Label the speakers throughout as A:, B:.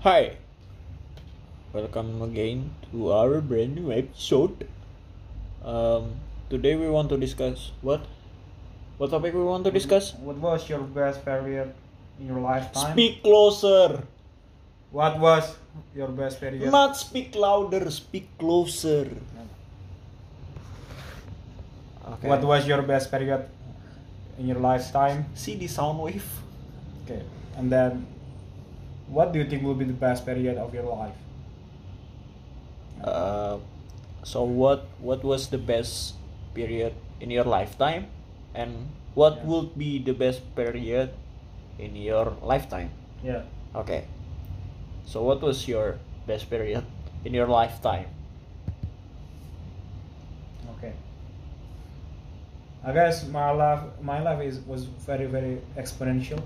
A: Hi, welcome again to our brand new episode. Um, today we want to discuss what? What topic we want to discuss?
B: What was your best period in your lifetime?
A: Speak closer,
B: What was your best period?
A: not speak louder. Speak closer. Okay.
B: What was your best period in your lifetime?
A: See the sound wave?
B: Okay. And then, what do you think will be the best period of your life?
A: Uh, so what? What was the best period in your lifetime, and what
B: Yeah.
A: would be the best period in your lifetime?
B: Yeah.
A: Okay. So what was your best period in your lifetime?
B: Okay. I guess my life, my life is was very very exponential.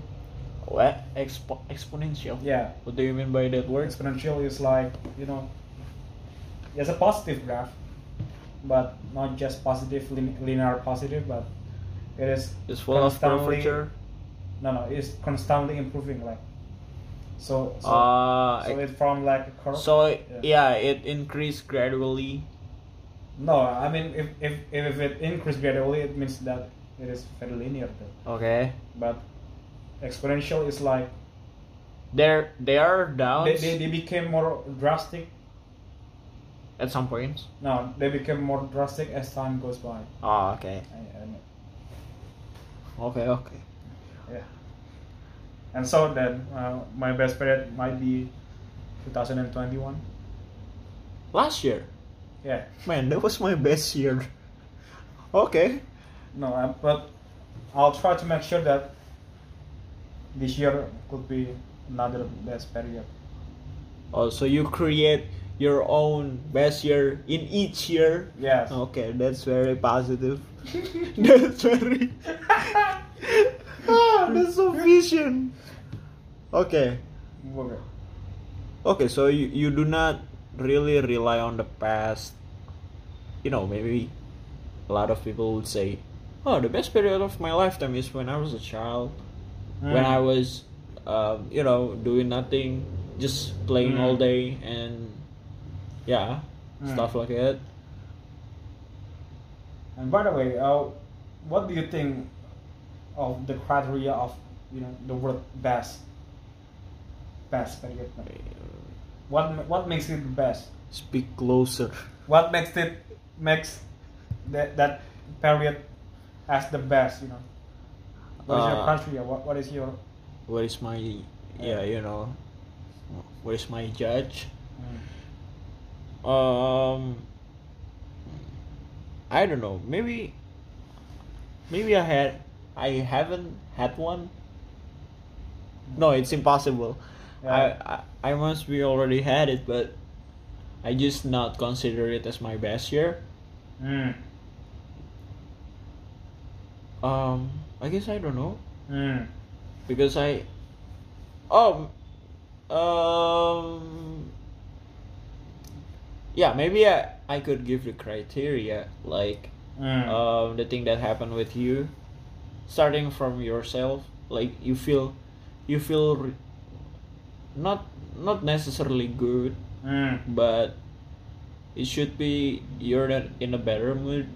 A: What? Expo- exponential?
B: Yeah.
A: What do you mean by that word?
B: Exponential is like you know, it's a positive graph, but not just positive lin- linear positive, but it is
A: It's full of
B: constantly-
A: curvature.
B: No, no, it's constantly improving. Like, so, so,
A: Ah,
B: so
A: ex-
B: it formed like a curve.
A: so yeah, it increased gradually.
B: no, I mean, if if if it increases gradually, it means that it is very linear. Then.
A: Okay.
B: But exponential is like
A: There there are
B: they,
A: downs
B: they, they became more drastic.
A: at some points.
B: No, they became more drastic as time goes by.
A: Ah, okay.
B: I, I mean,
A: Okay, okay.
B: yeah. And so then, uh, my best period might be 2021.
A: Last year.
B: Yeah.
A: Man, that was my best year. Okay.
B: No, I- but I'll try to make sure that this year could be another best period.
A: Oh, so you create your own best year in each year
B: Yes.
A: Okay, that's very positive. that's very. ah, that's so vision. Okay,
B: Okay.
A: okay. So you, you do not really rely on the past. You know, maybe a lot of people would say, "Oh, the best period of my lifetime is when I was a child, when
B: Mm.
A: I was, um, you know, doing nothing, just playing
B: Mm.
A: all day and yeah,
B: Mm.
A: stuff like that."
B: And by the way, uh, what do you think of the criteria of you know the word best? Best period. What ma- what makes it best?
A: Speak closer.
B: What makes it makes that that period as the best? You know. What is your
A: Uh,
B: criteria? What what is your?
A: where is my yeah you know where is my judge
B: Mm.
A: um i don't know maybe maybe i had i haven't had one no it's impossible
B: Yeah.
A: I, I i must be already had it but i just not consider it as my best year
B: Mm.
A: um i guess i don't know
B: Mm.
A: because I oh um yeah maybe I, I could give the criteria like
B: Mm.
A: um the thing that happened with you starting from yourself like you feel you feel re- not not necessarily good
B: Mm.
A: but it should be you're not in a better mood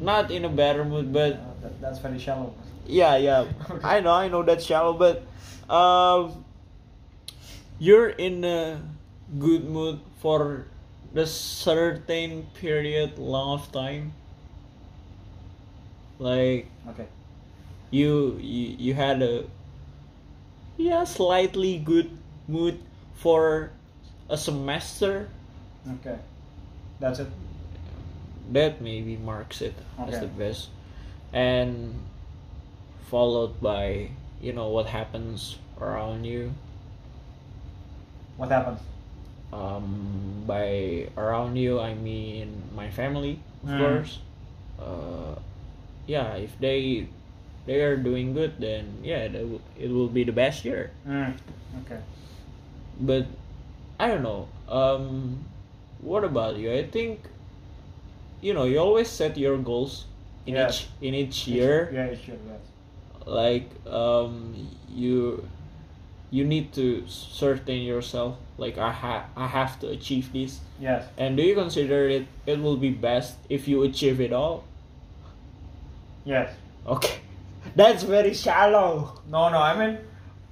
A: not in a better mood but
B: Uh, that, that's very shallow.
A: Yeah, yeah. I know, I know that's shallow, but um, you're in a good mood for the certain period long of time. Like
B: Okay.
A: you, you, you had a yeah slightly good mood for a semester.
B: Okay. That's it.
A: That maybe marks it as
B: Okay.
A: the best, and followed by you know what happens around you.
B: What happens?
A: um, by around you I mean my family of
B: Mm.
A: course uh, yeah if they they are doing good then yeah they will, it will be the best year
B: Mm. Okay.
A: but I don't know um, what about you I think you know you always set your goals in
B: Yeah.
A: each in each year
B: Yeah, it should. Yes.
A: like um, you you need to certain yourself like I ha- I have to achieve this.
B: Yes.
A: And do you consider it it will be best if you achieve it all?
B: Yes.
A: Okay. That's very shallow.
B: No, no. I mean,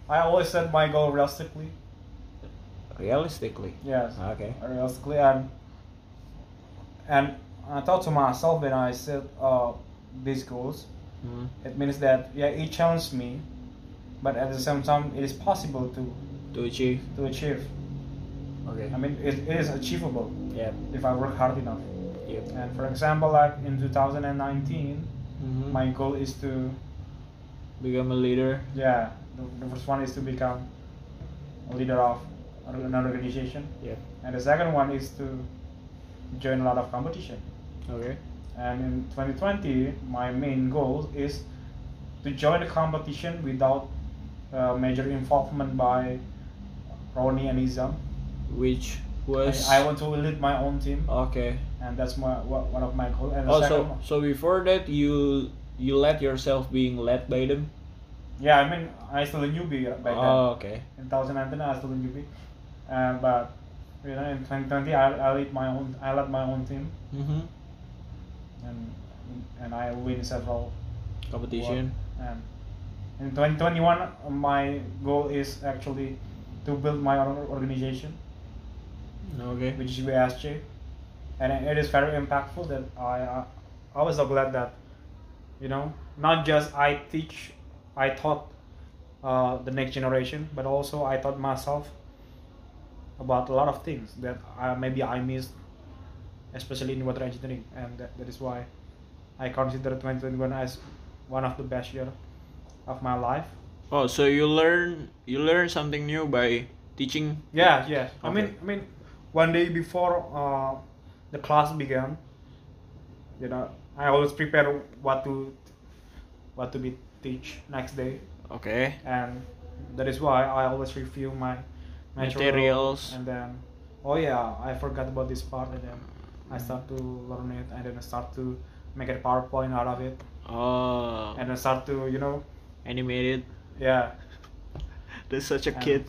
B: I always set my goal realistically.
A: Realistically.
B: Yes.
A: Okay.
B: Realistically, and and uh, I thought to myself when I set uh, these goals,
A: Hmm.
B: it means that yeah, it challenges me, but at the same time, it is possible to
A: To achieve.
B: to achieve.
A: Okay.
B: I mean, it, it is achievable
A: Yeah.
B: if I work hard enough.
A: Yep.
B: And for example, like in 2019,
A: Mhm.
B: my goal is to
A: Become a leader.
B: yeah, the, the first one is to become a leader of an organization,
A: Yep.
B: and the second one is to join a lot of competition.
A: Okay.
B: And in 2020, my main goal is to join the competition without uh, major involvement by Ronnie and Izam.
A: Which was
B: I, I want to lead my own team,
A: Okay.
B: and that's my wha- one of my goals. And the
A: Oh,
B: second
A: so,
B: one-
A: so before that, you you let yourself being led by them.
B: yeah, I mean, I still a newbie uh, back
A: oh, okay.
B: then. In 2019, I still a newbie, uh, but you know, in 2020, I, I lead my own. I led my own team,
A: Mm-hmm.
B: and and I win several
A: Competition.
B: Um, in 2021, my goal is actually to build my own organization,
A: Okay.
B: which is WSJ, and it is very impactful that I, I I was so glad that you know not just I teach, I taught uh, the next generation, but also I taught myself about a lot of things that I, maybe I missed, especially in water engineering, and that, that is why I consider 2021 as one of the best year of my life.
A: Oh, so you learn you learn something new by teaching.
B: Yeah, yeah. I mean,
A: Okay.
B: I mean, one day before uh, the class began, you know, I always prepare what to what to be teach next day,
A: Okay.
B: and that is why I always review my
A: Materials.
B: and then oh yeah, I forgot about this part, and then I start to learn it, and then I start to make a PowerPoint out of it,
A: Oh,
B: and uh, I start to you know,
A: animated.
B: yeah.
A: That's such a
B: And-
A: kid.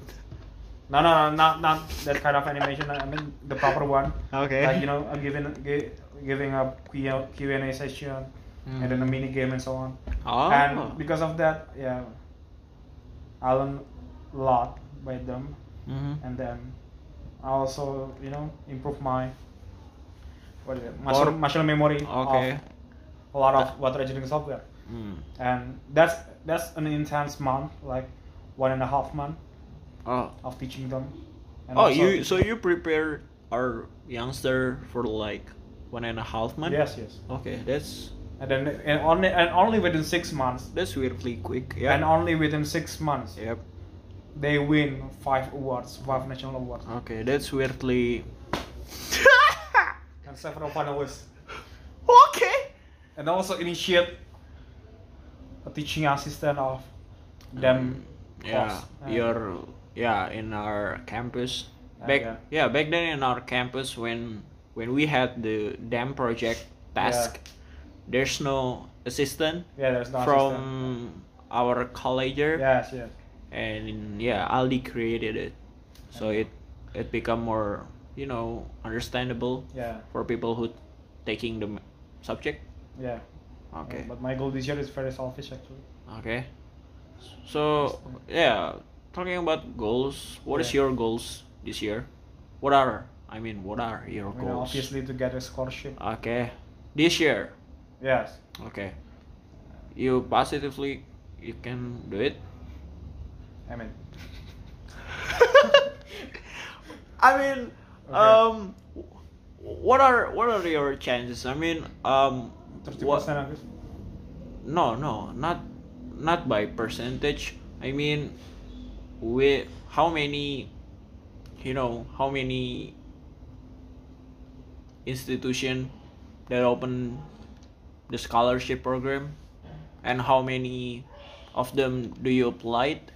B: No, no, no, not not that kind of animation. I mean the proper one.
A: Okay.
B: Like you know, a giving gi- giving a Q Q and A session,
A: Hmm.
B: and then a mini game and so on.
A: oh.
B: And because of that, yeah, I learned a lot by them,
A: Mhm.
B: and then I also you know improve my what is it
A: Or-
B: muscle, muscle memory
A: Okay.
B: of a lot of water engineering software.
A: Mm.
B: And that's that's an intense month, like one and a half month
A: Oh.
B: of teaching them. And
A: Oh,
B: also
A: you
B: teaching-
A: so you prepare our youngster for like one and a half month.
B: Yes, yes.
A: Okay, that's
B: And then and only and only within six months.
A: that's weirdly quick. Yeah.
B: And only within six months,
A: Yep.
B: they win five awards, five national awards,
A: Okay, that's weirdly.
B: and several finalists,
A: okay.
B: and also initiate a teaching assistant of them.
A: Yeah,
B: course. Uh,
A: your yeah in our campus back
B: Okay.
A: yeah back then in our campus when when we had the dam project
B: Yeah.
A: task, there's no assistant
B: Yeah, there's no assistant.
A: from our colleger
B: Yes, yes.
A: and yeah Aldi created it, so it it become more you know understandable
B: Yeah,
A: for people who taking the m- subject.
B: yeah.
A: Okay.
B: But my goal this year is very selfish, actually.
A: Okay. So yeah, talking about goals, What is
B: Yeah.
A: your goals this year? What are I mean, what are your
B: You know,
A: goals?
B: obviously to get a scholarship.
A: Okay, this year.
B: Yes.
A: Okay, you positively you can do it.
B: I mean,
A: I mean,
B: Okay.
A: um, w- what are what are your chances? I mean, um,
B: thirty
A: what?
B: percent, I guess.
A: No, no, not not by percentage. I mean, with how many, you know, how many institution that open the scholarship program, and how many of them do you apply? it?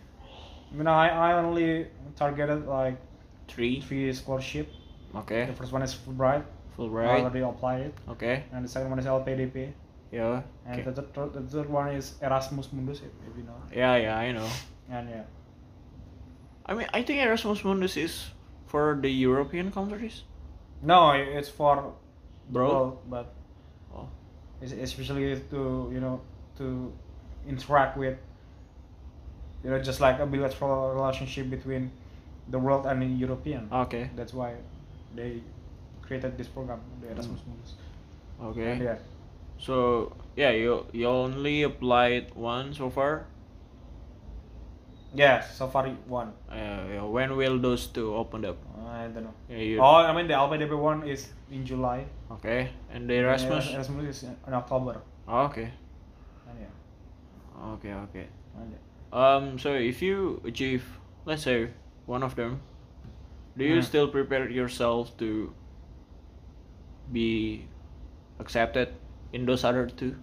B: I mean, I, I only targeted like
A: Three.
B: three scholarship.
A: Okay.
B: The first one is Fulbright. I
A: Fulbright.
B: already applied it.
A: Okay.
B: And the second one is LPDP.
A: Yeah.
B: And
A: Okay.
B: the, third, the third one is Erasmus Mundus, if if you know.
A: Yeah, yeah, I know.
B: And yeah.
A: I mean, I think Erasmus Mundus is for the European countries.
B: No, it's for
A: Bro?
B: well, but
A: Oh.
B: it's especially to you know to interact with you know just like a bilateral relationship between the world and the European.
A: Okay.
B: That's why they created this program, the Erasmus Mundus.
A: Okay.
B: Yeah.
A: So yeah, you you only applied one so far.
B: Yeah, Safari one.
A: Uh, yeah, when will those two open up?
B: I don't know.
A: Yeah, you-
B: Oh, I mean the Albania one is in July.
A: Okay. And the Erasmus.
B: Yeah, Erasmus is in October.
A: Oh, okay.
B: And yeah.
A: Okay. Okay.
B: and yeah.
A: Um. So if you achieve, let's say, one of them, do you
B: Hmm.
A: still prepare yourself to be accepted in those other two?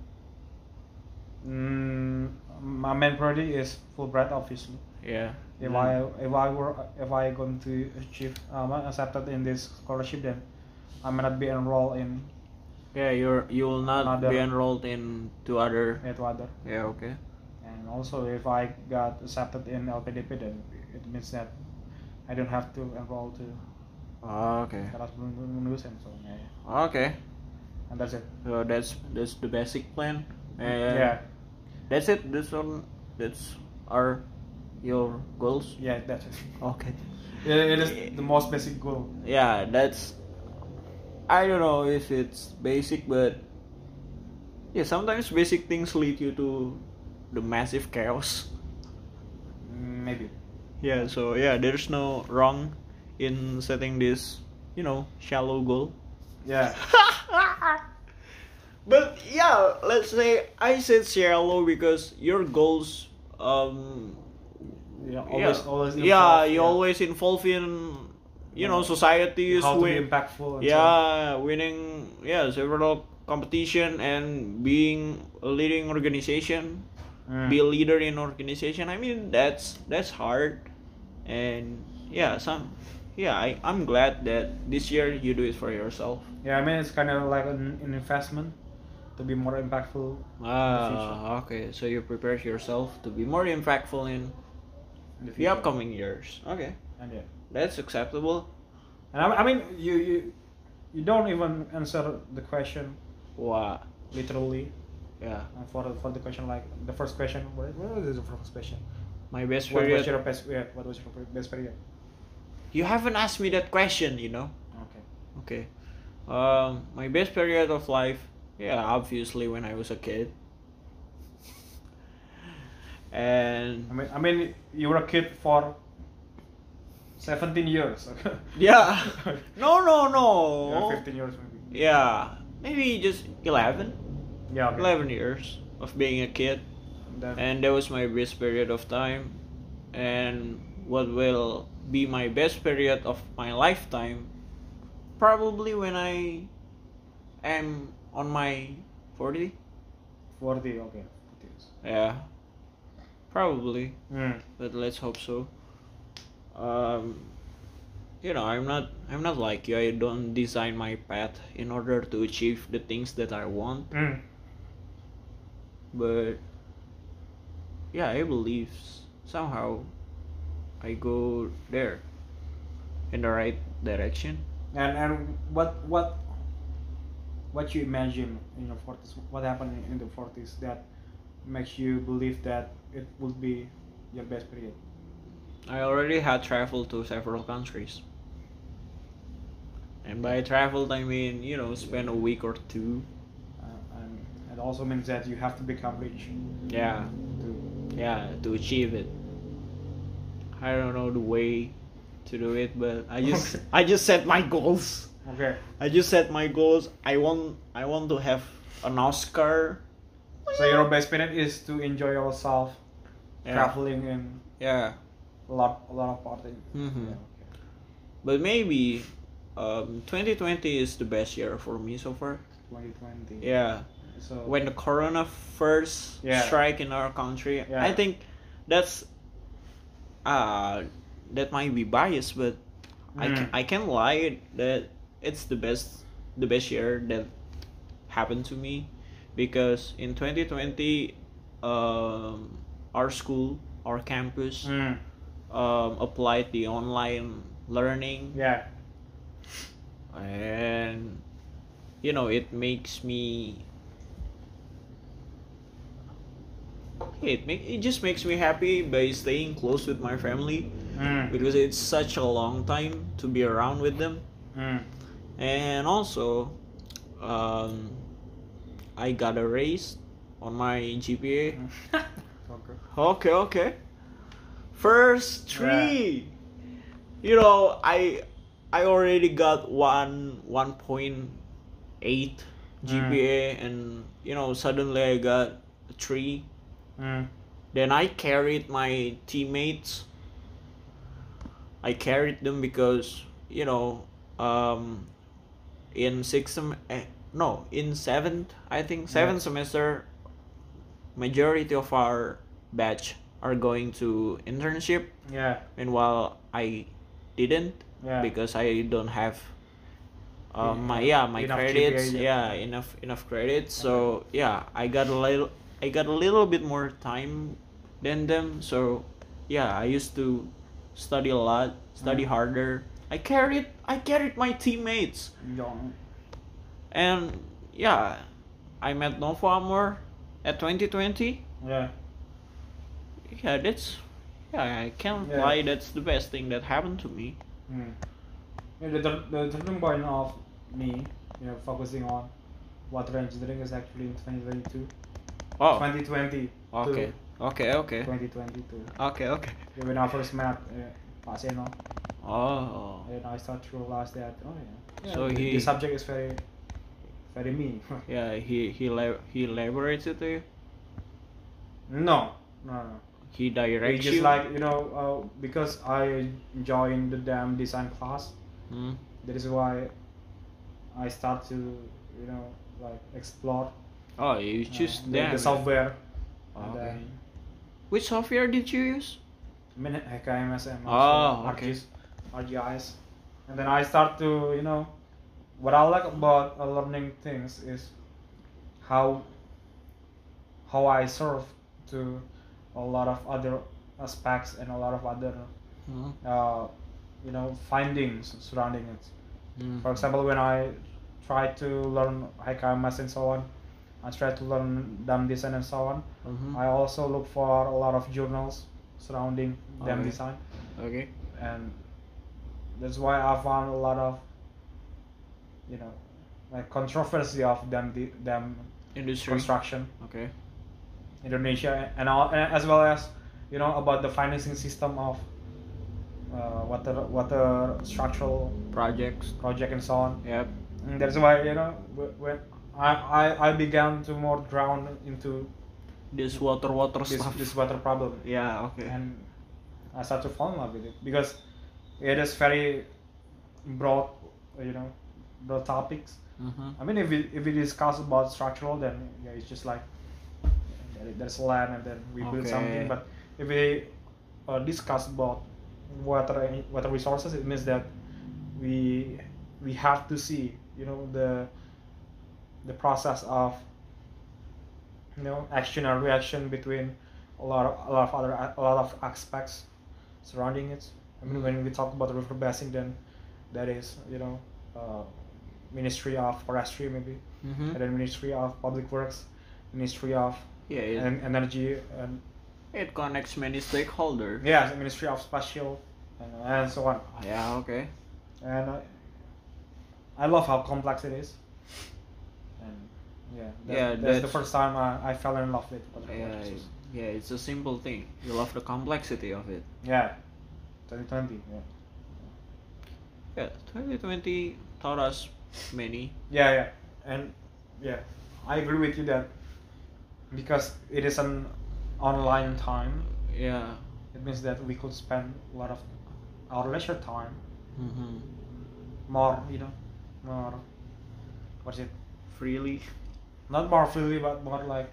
B: Mm, my main priority is Fulbright, obviously.
A: Yeah.
B: If
A: Hmm.
B: I if I were if I going to achieve um, accepted in this scholarship, then I may not be enrolled in
A: Yeah, you're you will not be
B: Another-
A: enrolled in two other.
B: it other.
A: Yeah. Okay.
B: And also, if I got accepted in LPDP, then it means that I don't have to enroll to
A: Ah, Okay.
B: Erasmus Mundus and so on. Yeah, yeah.
A: Okay.
B: and that's it.
A: So Uh, that's that's the basic plan. And
B: yeah,
A: That's it. This one. That's our your goals.
B: yeah, that's it.
A: Okay.
B: It, it is the most basic goal.
A: Yeah, that's. I don't know if it's basic, but yeah, sometimes basic things lead you to the massive chaos.
B: Maybe.
A: Yeah. So yeah, there's no wrong in setting this, you know, shallow goal.
B: Yeah.
A: but yeah, let's say I said shallow because your goals um
B: Yeah. Always.
A: yeah,
B: Always.
A: yeah,
B: involve,
A: you always involved in you know
B: Yeah.
A: societies
B: How to be
A: win-
B: impactful. and so on.
A: yeah winning yeah several competition and being a leading organization
B: Mm.
A: be a leader in organization i mean that's that's hard and yeah some yeah I, i'm glad that this year you do it for yourself
B: Yeah, I mean it's kind of like an, an investment to be more impactful.
A: ah okay so you prepare yourself to be more impactful in
B: In the
A: the
B: future.
A: upcoming years okay
B: And yeah,
A: that's acceptable
B: and I, I mean you you you don't even answer the question
A: wow
B: literally.
A: yeah
B: And for the- for the question like the first question, what, what was the first question?
A: my best
B: What was your
A: period
B: best? Yeah, what was your best period?
A: you haven't asked me that question you know
B: Okay.
A: Okay. Um, my best period of life, yeah, obviously when I was a kid.
B: I
A: And
B: mean I mean you were a kid for seventeen years. Okay.
A: yeah, no, no,
B: Yeah,
A: no.
B: Fifteen years maybe.
A: Yeah, maybe just 11,
B: Yeah. Okay.
A: 11 years of being a kid,
B: Then,
A: and that was my best period of time. And what will be my best period of my lifetime? Probably when I am on my 40.
B: forty. Okay. 40 years.
A: Yeah. Probably,
B: Mm.
A: but let's hope so. Um you know, I'm not I'm not like you. I don't design my path in order to achieve the things that I want,
B: Mm.
A: but yeah, I believe s- somehow I go there in the right direction.
B: And and what what what you imagine in your forties? What happened in the forties that makes you believe that it would be your best period?
A: I already had traveled to several countries. And by traveled I mean, you know, spend a week or two.
B: Uh, and it also means that you have to become rich.
A: Yeah.
B: To,
A: yeah to achieve it i don't know the way to do it but i just
B: Okay.
A: i just set my goals
B: okay.
A: i just set my goals i want i want to have an oscar
B: So your best period is to enjoy yourself,
A: Yeah.
B: traveling and
A: yeah
B: a lot a lot of partying.
A: Mhm.
B: Yeah, okay.
A: but maybe um 2020 is the best year for me so far
B: 2020.
A: yeah
B: So
A: when the corona first
B: Yeah.
A: strike in our country
B: Yeah.
A: i think that's uh that might be biased but I,
B: Mm.
A: can, I can lie that it's the best the best year that happened to me because in 2020 um our school our campus
B: Mm.
A: um, applied the online learning
B: Yeah.
A: and you know it makes me it make it just makes me happy by staying close with my family
B: Mm.
A: because it's such a long time to be around with them
B: Mm.
A: and also um, I got a raise on my GPA
B: okay.
A: Okay, okay. First three. You know, I I already got one one point eight GPA and you know suddenly I got a three.
B: Mm.
A: Then I carried my teammates. I carried them because you know, um, in sixth sem- eh, no in seventh I think seventh semester, majority of our batch are going to internship,
B: Yeah.
A: and while I didn't
B: Yeah.
A: because I don't have. Uh,
B: Yeah,
A: my yeah my
B: enough
A: credits
B: GPA,
A: yeah
B: yeah.
A: enough enough credits so yeah I got a little I got a little bit more time than them so yeah I used to study a lot study
B: Mm.
A: harder I carried I carried my teammates
B: Young.
A: and yeah I met Novo Amor at 2020
B: Yeah.
A: yeah that's yeah I can't
B: Yeah.
A: lie that's the best thing that happened to me
B: Mm. Yeah, the, tur- the turning point of me, you know, focusing on water engineering is actually in 2022.
A: oh
B: 2020.
A: okay okay okay
B: 2022.
A: okay okay
B: Yeah, When I first met uh, Paseno,
A: oh
B: and I started to realize that, oh yeah. yeah
A: So
B: the,
A: he-
B: the subject is very, very me.
A: yeah he he lab- he elaborates it to you
B: no, no, no.
A: he
B: It's
A: directs
B: just
A: you
B: like you know, uh, because I joined the damn design class.
A: Hmm.
B: That is why I start to you know like explore
A: oh you
B: uh,
A: choose
B: the,
A: them Ah,
B: the software. and uh,
A: okay.
B: then-
A: which software did you use
B: Minute HKMSM.
A: Oh, okay.
B: RGIS, RGIS. And then I start to, you know, what I like about uh, learning things is how how I serve to a lot of other aspects and a lot of other,
A: Hmm.
B: uh, you know, findings surrounding it.
A: Hmm.
B: For example, when I try to learn HKMS and so on, I try to learn dumb design and so on.
A: Mhm.
B: I also look for a lot of journals surrounding them
A: Okay.
B: design,
A: okay
B: and that's why I found a lot of, you know, like controversy of them de- them
A: industry
B: construction
A: okay
B: Indonesia and all, and as well as you know about the financing system of uh, water water structural
A: projects
B: project and so on.
A: yep
B: And Mm, that's why you know wh- when I I, I began to more drown into
A: this water water
B: this
A: stuff
B: this water problem.
A: yeah okay
B: and I start to fall in love with it because it is very broad, you know, broad topics.
A: Mhm.
B: I mean, if we, if we discuss about structural, then yeah, it's just like there- there's land and then we build
A: Okay.
B: something. But if we uh, discuss about water and water resources, it means that we we have to see, you know, the the process of you know action and reaction between a lot of a lot of other a lot of aspects surrounding it. I mean, when we talk about river basin, then that is you know uh, Ministry of Forestry maybe,
A: Mhm.
B: and then Ministry of Public Works, Ministry of
A: yeah it,
B: En- Energy, and
A: it connects many stakeholders
B: yeah, the Ministry of Spatial, and, and so on.
A: yeah okay
B: And I, I love how complex it is. And yeah, that,
A: Yeah,
B: that's, the
A: that's-
B: first time uh, I, I fell in love with public
A: yeah
B: works.
A: it- yeah it's a simple thing you love the complexity of it
B: Yeah, 2020. Yeah.
A: yeah 2020 taught us many
B: Yeah, yeah, and yeah, I agree with you that because it is an online time,
A: yeah
B: it means that we could spend a lot of our leisure time
A: hmm
B: more, you know, more. What's it?
A: freely
B: Not more freely, but more like.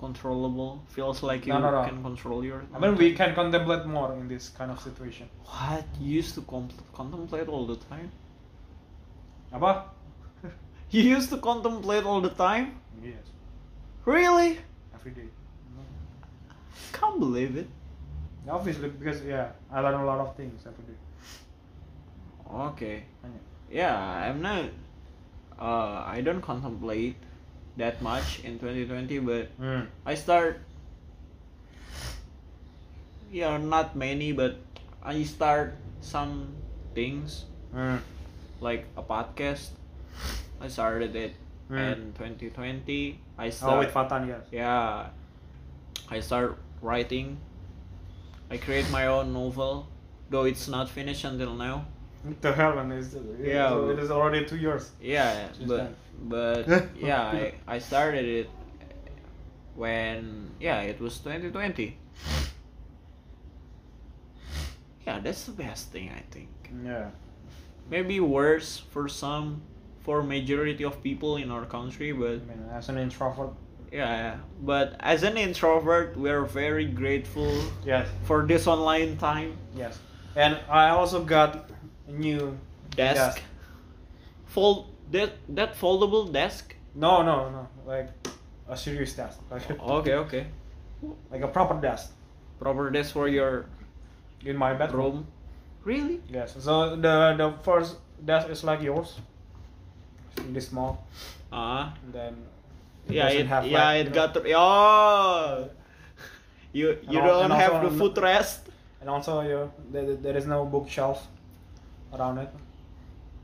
A: controllable feels like you
B: No, no, no.
A: can control your
B: I mean, we can contemplate more in this kind of situation.
A: what you used to com- contemplate all the time
B: Apa?
A: you used to contemplate all the time
B: yes,
A: really
B: every day.
A: can't believe it
B: Mm-hmm. Obviously, because yeah, I learn a lot of things every day.
A: Okay.
B: Banyak.
A: Yeah, I'm not. Uh, I don't contemplate that much in 2020, but
B: Hmm.
A: I start. Yeah, not many, but I start some things
B: Hmm.
A: like a podcast. I started it
B: Hmm.
A: in 2020. I
B: Oh,
A: start.
B: with Fatan, yes.
A: yeah, I start writing. I create my own novel, though it's not finished until now.
B: What the hell, man? It's,
A: Yeah.
B: yeah, it is already two years.
A: Yeah,
B: Just
A: but but yeah, I, I started it when yeah it was 2020. Yeah, that's the best thing I think.
B: Yeah.
A: Maybe worse for some, for majority of people in our country,
B: I
A: but
B: mean, as an introvert,
A: yeah. But as an introvert, we are very grateful
B: yes,
A: for this online time
B: yes. And I also got a new
A: desk.
B: Desk.
A: Fold that that foldable desk.
B: no, no, no, like a serious desk, like,
A: Okay, okay.
B: like a proper desk
A: Proper desk for your
B: in my bedroom.
A: room. Really?
B: Yes. So the the first desk is like yours, really small.
A: Ah.
B: And then
A: yeah,
B: doesn't
A: it,
B: have
A: yeah,
B: like,
A: it
B: you know-
A: got. oh, you you
B: al-
A: don't
B: and
A: have
B: also
A: the
B: on-
A: footrest.
B: And also, your there, there is no bookshelf around it.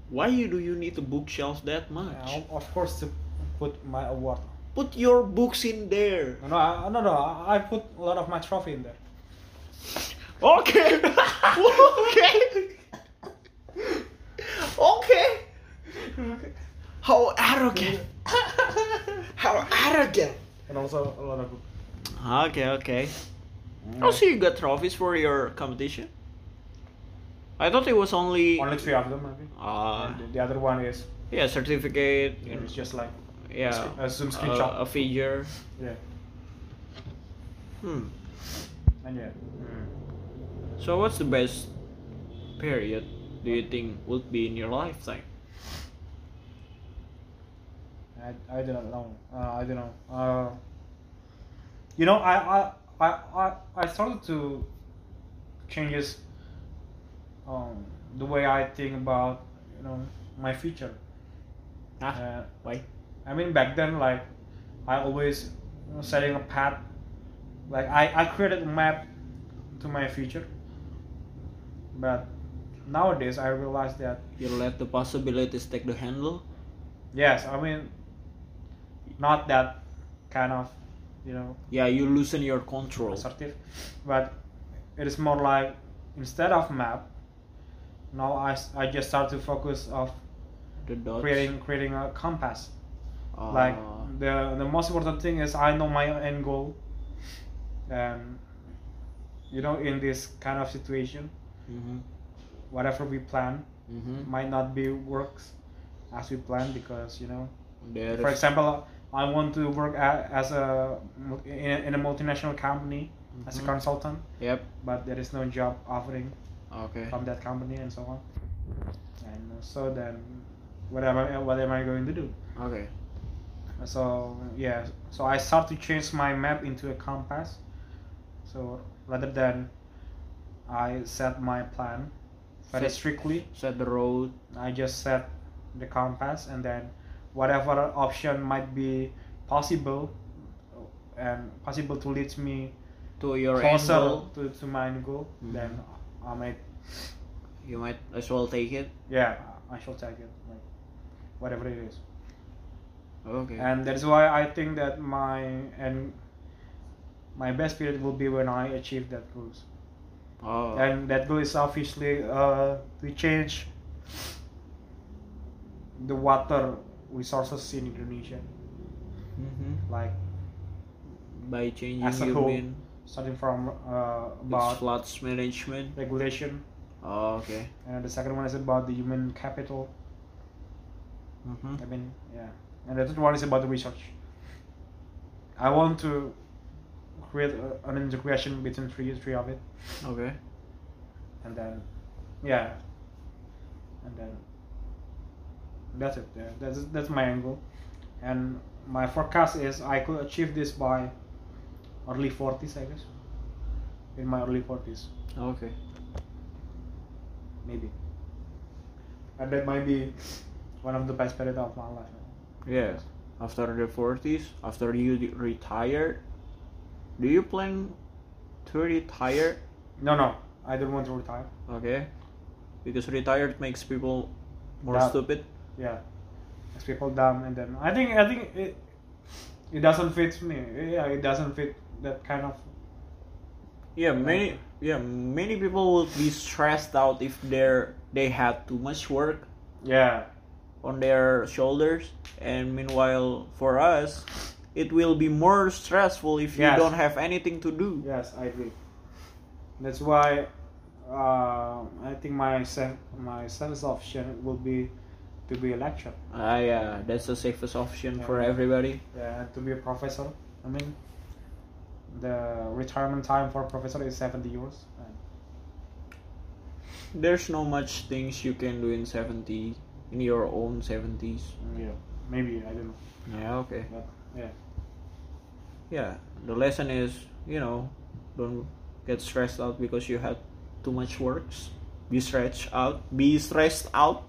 A: Why you do you need a bookshelf that much?
B: And of course, to put my award.
A: Put your books in there.
B: No, no, I, no, no. I I put a lot of my trophy in there.
A: Okay. okay. okay. How arrogant. How arrogant.
B: And also a lot of book.
A: Okay, okay. Oh, so you got trophies for your competition? I thought it was only.
B: Only three of them, maybe.
A: Ah.
B: And the- the other one is
A: Yeah, certificate. you know,
B: it's just like
A: Yeah.
B: a Zoom
A: a-
B: screenshot.
A: a figure.
B: yeah,
A: Hmm.
B: and yeah.
A: So what's the best period do you think would be in your lifetime?
B: I, I don't know. Uh, I don't know. Uh, you know, I I, I, I I started to changes um, the way I think about you know my future.
A: Ah.
B: Uh,
A: why?
B: I mean, back then, like I always you know, setting a path. Like I, I created a map to my future, but nowadays I realize that
A: You let the possibilities take the handle?
B: yes, I mean, not that kind of you know
A: Yeah, you loosen your control.
B: assertive, but it is more like instead of map. Now I, s- I just start to focus of
A: The dots.
B: creating creating a compass.
A: Ah,
B: like the the most important thing is I know my end goal. And you know, in this kind of situation,
A: mhm,
B: whatever we plan
A: mhm.
B: might not be works as we plan because you know,
A: There
B: mm-hmm. for
A: is-
B: example, I want to work a as a mul- in a, in a multinational company as a
A: Mhm.
B: consultant,
A: Yep.
B: but there is no job offering
A: Okay.
B: from that company and so on. And uh, so then, what am I what am I going to do?
A: Okay.
B: so yeah so i start to change my map into a compass so rather than i set my plan very
A: Set-
B: strictly
A: Set the road.
B: i just set the compass and then whatever option might be possible and possible to lead me
A: To your end
B: closer
A: goal,
B: to, to my end goal
A: Mhm.
B: then i might
A: you might as well take it.
B: yeah i shall take it like whatever it is
A: Okay.
B: and that's why I think that my and my best period will be when I achieve that goals.
A: oh.
B: And that goal is obviously uh, to change the water resources in Indonesia,
A: mhm.
B: like
A: By changing,
B: As a
A: you
B: whole,
A: mean
B: starting from uh,
A: it's
B: about
A: floods management.
B: regulation,
A: Oh, okay.
B: and the second one is about the human capital.
A: Mm-hmm.
B: I mean, yeah. And the third one is about the research. I want to create a, an integration between three three of it.
A: Okay.
B: and then yeah and then that's it yeah. that's that's my angle and my forecast is i could achieve this by early 40s i guess in my early 40s
A: Okay.
B: maybe and that might be one of the best period of my life
A: Yeah. After the forties, after you de- retire, do you plan to retire?
B: no no i don't want to retire
A: Okay. Because retired makes people more
B: Yeah.
A: stupid.
B: yeah as people dumb and then i think i think it it doesn't fit me yeah it doesn't fit that kind of
A: Yeah, many yeah many people would be stressed out if they're they had too much work
B: yeah
A: on their shoulders, and meanwhile for us, it will be more stressful if you
B: Yes.
A: don't have anything to do.
B: Yes, I agree. That's why uh, I think my sen- my sense option will be to be a lecturer,
A: Ah, yeah, that's the safest option for
B: Yeah.
A: everybody.
B: yeah, and to be a professor. I mean, the retirement time for a professor is seventy years. And
A: There's no much things you can do in seventy in your own seventies.
B: yeah, maybe I don't know.
A: Yeah, okay.
B: But yeah,
A: Yeah, the lesson is you know don't get stressed out because you had too much works. Be stretched out. Be stressed out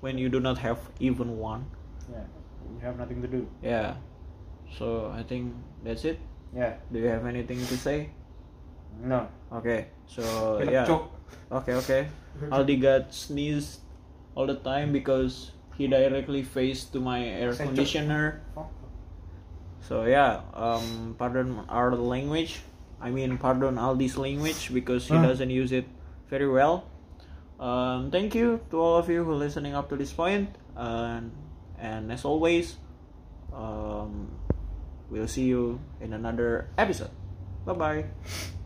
A: when you do not have even one.
B: yeah, you have nothing to do.
A: Yeah. So I think that's it.
B: Yeah,
A: Do you have anything to say?
B: no.
A: Okay. So
B: Kita
A: yeah.
B: choke.
A: Okay, okay. Aldi got sneezed all the time because he directly faced to my air
B: Say choke.
A: conditioner.
B: Fuck.
A: So yeah, um, pardon our language. I mean, pardon Aldi's language because he
B: Huh.
A: doesn't use it very well. Um, thank you to all of you who are listening up to this point, and and as always, um, we'll see you in another episode. Bye bye.